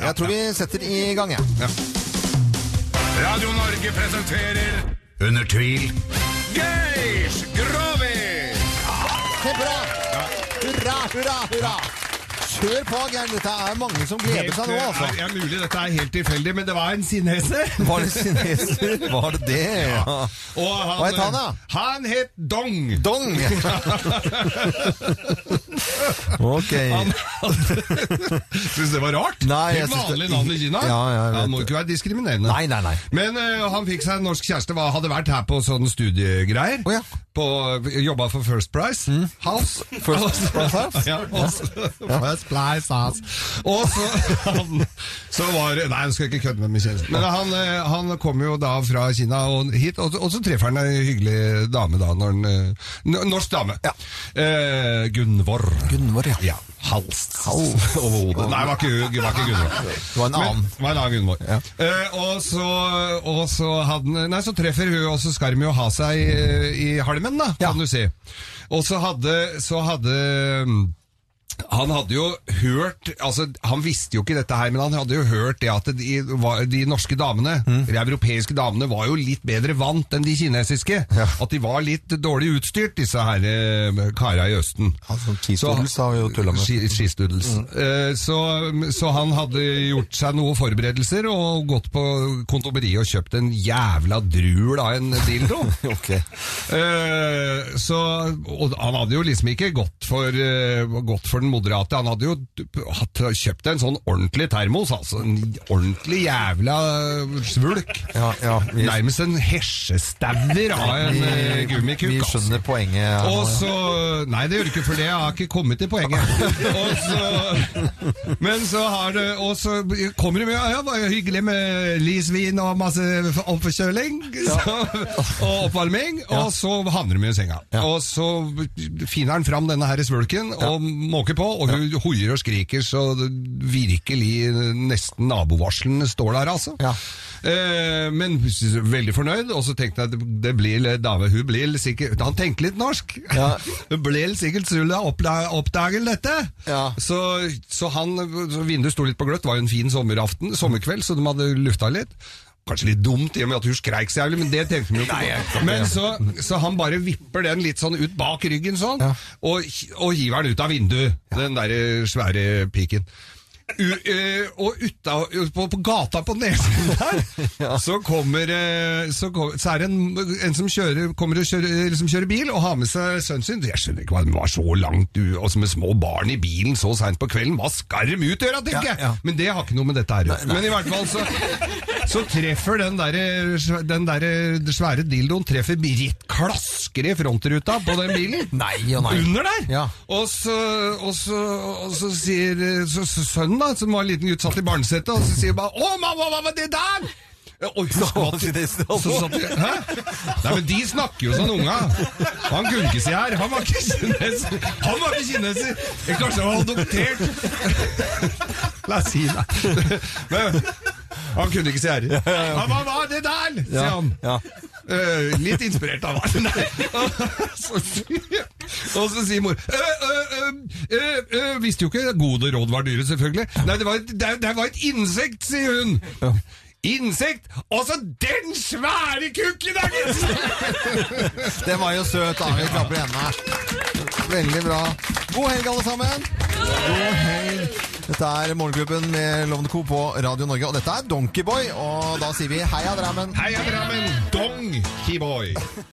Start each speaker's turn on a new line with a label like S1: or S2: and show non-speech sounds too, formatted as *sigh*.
S1: Jeg tror vi setter i gang, jeg. Ja.
S2: Radio Norge presenterer Under tvil Geir Grovis!
S1: Kjempebra! Hurra, hurra, hurra! Kjør på, Geir. Dette er mange som gleder seg nå, altså.
S3: Ja, mulig dette er helt tilfeldig, men det var en sinnhese.
S1: Var det kineser? Var det det? Ja.
S3: Og han,
S1: Hva het han, da?
S3: Han het Dong. *laughs*
S1: Dong! Ok.
S3: Syns det var rart?
S1: Nei, jeg
S3: Helt
S1: synes det-
S3: vanlig navn i Kina?
S1: Ja, ja, jeg vet
S3: Han må
S1: det.
S3: ikke være diskriminerende.
S1: Nei, nei, nei.
S3: Men eh, han fikk seg en norsk kjæreste, hva hadde vært her på sånne studiegreier.
S1: Å, ja. Mm.
S3: på, jobba for First Price House.
S1: First Price House?
S3: *laughs* ja, og så- First Price House. Og så, han, så var det Nei, nå skal jeg ikke kødde med min kjæreste. Men han, eh, han kom jo da fra Kina og hit, og, og så treffer han ei hyggelig dame da. Når han, eh, n- norsk dame.
S1: Ja.
S3: Eh, Gunvor.
S1: Gunvor, ja.
S3: Ja. Hals. *laughs* Over hodet. Nei, det var ikke, det var ikke Gunvor.
S1: Det var en annen.
S3: Men, det var en annen Gunvor. Eh, og, så, og så hadde Nei, så treffer hun, og så skal de jo ha seg eh, i halmen, da,
S1: Ja.
S3: kan du si. Og så hadde, så hadde mm, han hadde jo hørt altså Han visste jo ikke dette her, men han hadde jo hørt det at de, var- de norske damene,
S1: Mm.
S3: de europeiske damene, var jo litt bedre vant enn de kinesiske.
S1: Ja.
S3: At de var litt dårlig utstyrt, disse her eh, kara i Østen.
S1: Altså, cheesedudels har vi jo tullet med. Mm.
S3: Ski- Skistudels. Eh, Så, så han hadde gjort seg noen forberedelser og gått på kontomeriet og kjøpt en jævla drul av en
S1: *laughs*
S3: dildo.
S1: Ok.
S3: Eh, så, og han hadde jo liksom ikke gått for, eh, gått for den moderate. Han hadde jo t- hatt, kjøpt en sånn ordentlig termos, altså en ordentlig jævla svulk.
S1: Ja, ja, vi-
S3: Nærmest en hesjestauer av en eh, gummikukk.
S1: vi
S3: altså.
S1: skjønner poenget. her nå,
S3: Og
S1: ja.
S3: så Nei, det gjør det ikke, for det jeg har ikke kommet til
S1: *laughs*
S3: poenget. Og så, men så har det Og så kommer det mye ja, det var jo hyggelig med lys vin og masse oppforkjøling så- og oppvarming, og så havner de i senga.
S1: Ja.
S3: Og så finner han fram denne her svulken og måker på, og hun hoier og skriker så det virkelig nesten nabovarslene står der, altså.
S1: Ja.
S3: Eh, men veldig fornøyd, og så tenkte jeg at det blir dame, hun blir sikkert Han tenkte litt norsk!
S1: Ja.
S3: *laughs* hun blir sikkert sulla oppdager dette!
S1: Ja.
S3: Så, så han så Vinduet sto litt på gløtt, det var jo en fin sommeraften, sommerkveld, så de hadde lufta litt. Kanskje litt dumt, i og med at hun skreik så jævlig, men det tenkte vi jo ikke på. Men så, så han bare vipper den litt sånn ut bak ryggen sånn,
S1: Ja.
S3: og, og hiver den ut av vinduet, den der svære piken. U, eh, og uta, på, på gata på
S1: *laughs*
S3: nesen der, så kommer eh, så, kom, så er det en, en som kjører, kommer og kjører, eh, liksom kjører bil og har med seg sønnen sin. Jeg skjønner ikke hva de var så langt, du, altså med små barn i bilen så seint på kvelden. Hva skal de ut og gjøre,
S1: Ja,
S3: tenker jeg?
S1: ja.
S3: Men det har ikke noe med dette her å gjøre. Men i hvert fall så, så treffer den der, eh, den der eh, svære dildoen treffer Britt klasker i frontruta på den bilen.
S1: Nei og nei.
S3: Under der!
S1: Ja.
S3: Og, så, og, så, og så sier så, så sønnen, da, som var en liten gutt, satt i barnesetet, og så sier bare 'Å, mamma, hva var det der?' Og hun
S1: var
S3: skvatt.
S1: det det som-
S3: Og så satt de- Hæ? Nei, men de snakker jo sånn, unga. Han kunne ikke si her. Han var ikke kineser. Han var ikke kineser. Eller Kanskje han var adoptert. La oss si det. Men han kunne ikke si her. «Ja, Hva var det der? sier han.
S1: Ja.
S3: Eh, litt inspirert av han. *laughs* Nei. Så sier- Og så sier mor «Eh, eh, eh, eh, eh, Visste jo ikke gode råd var dyre, selvfølgelig. Nei, det var et, det, det var et insekt, sier hun. Insekt? Og så den svære kukken, da, gitt!
S1: Den var jo søt, da. Vi klapper i hendene. Veldig bra. God helg, alle sammen. God helg. Dette er Morgenklubben med Lovende Co. på Radio Norge, og dette er Donkeyboy. Og da sier vi heia Drammen.
S3: Heia Drammen, dong, keyboy.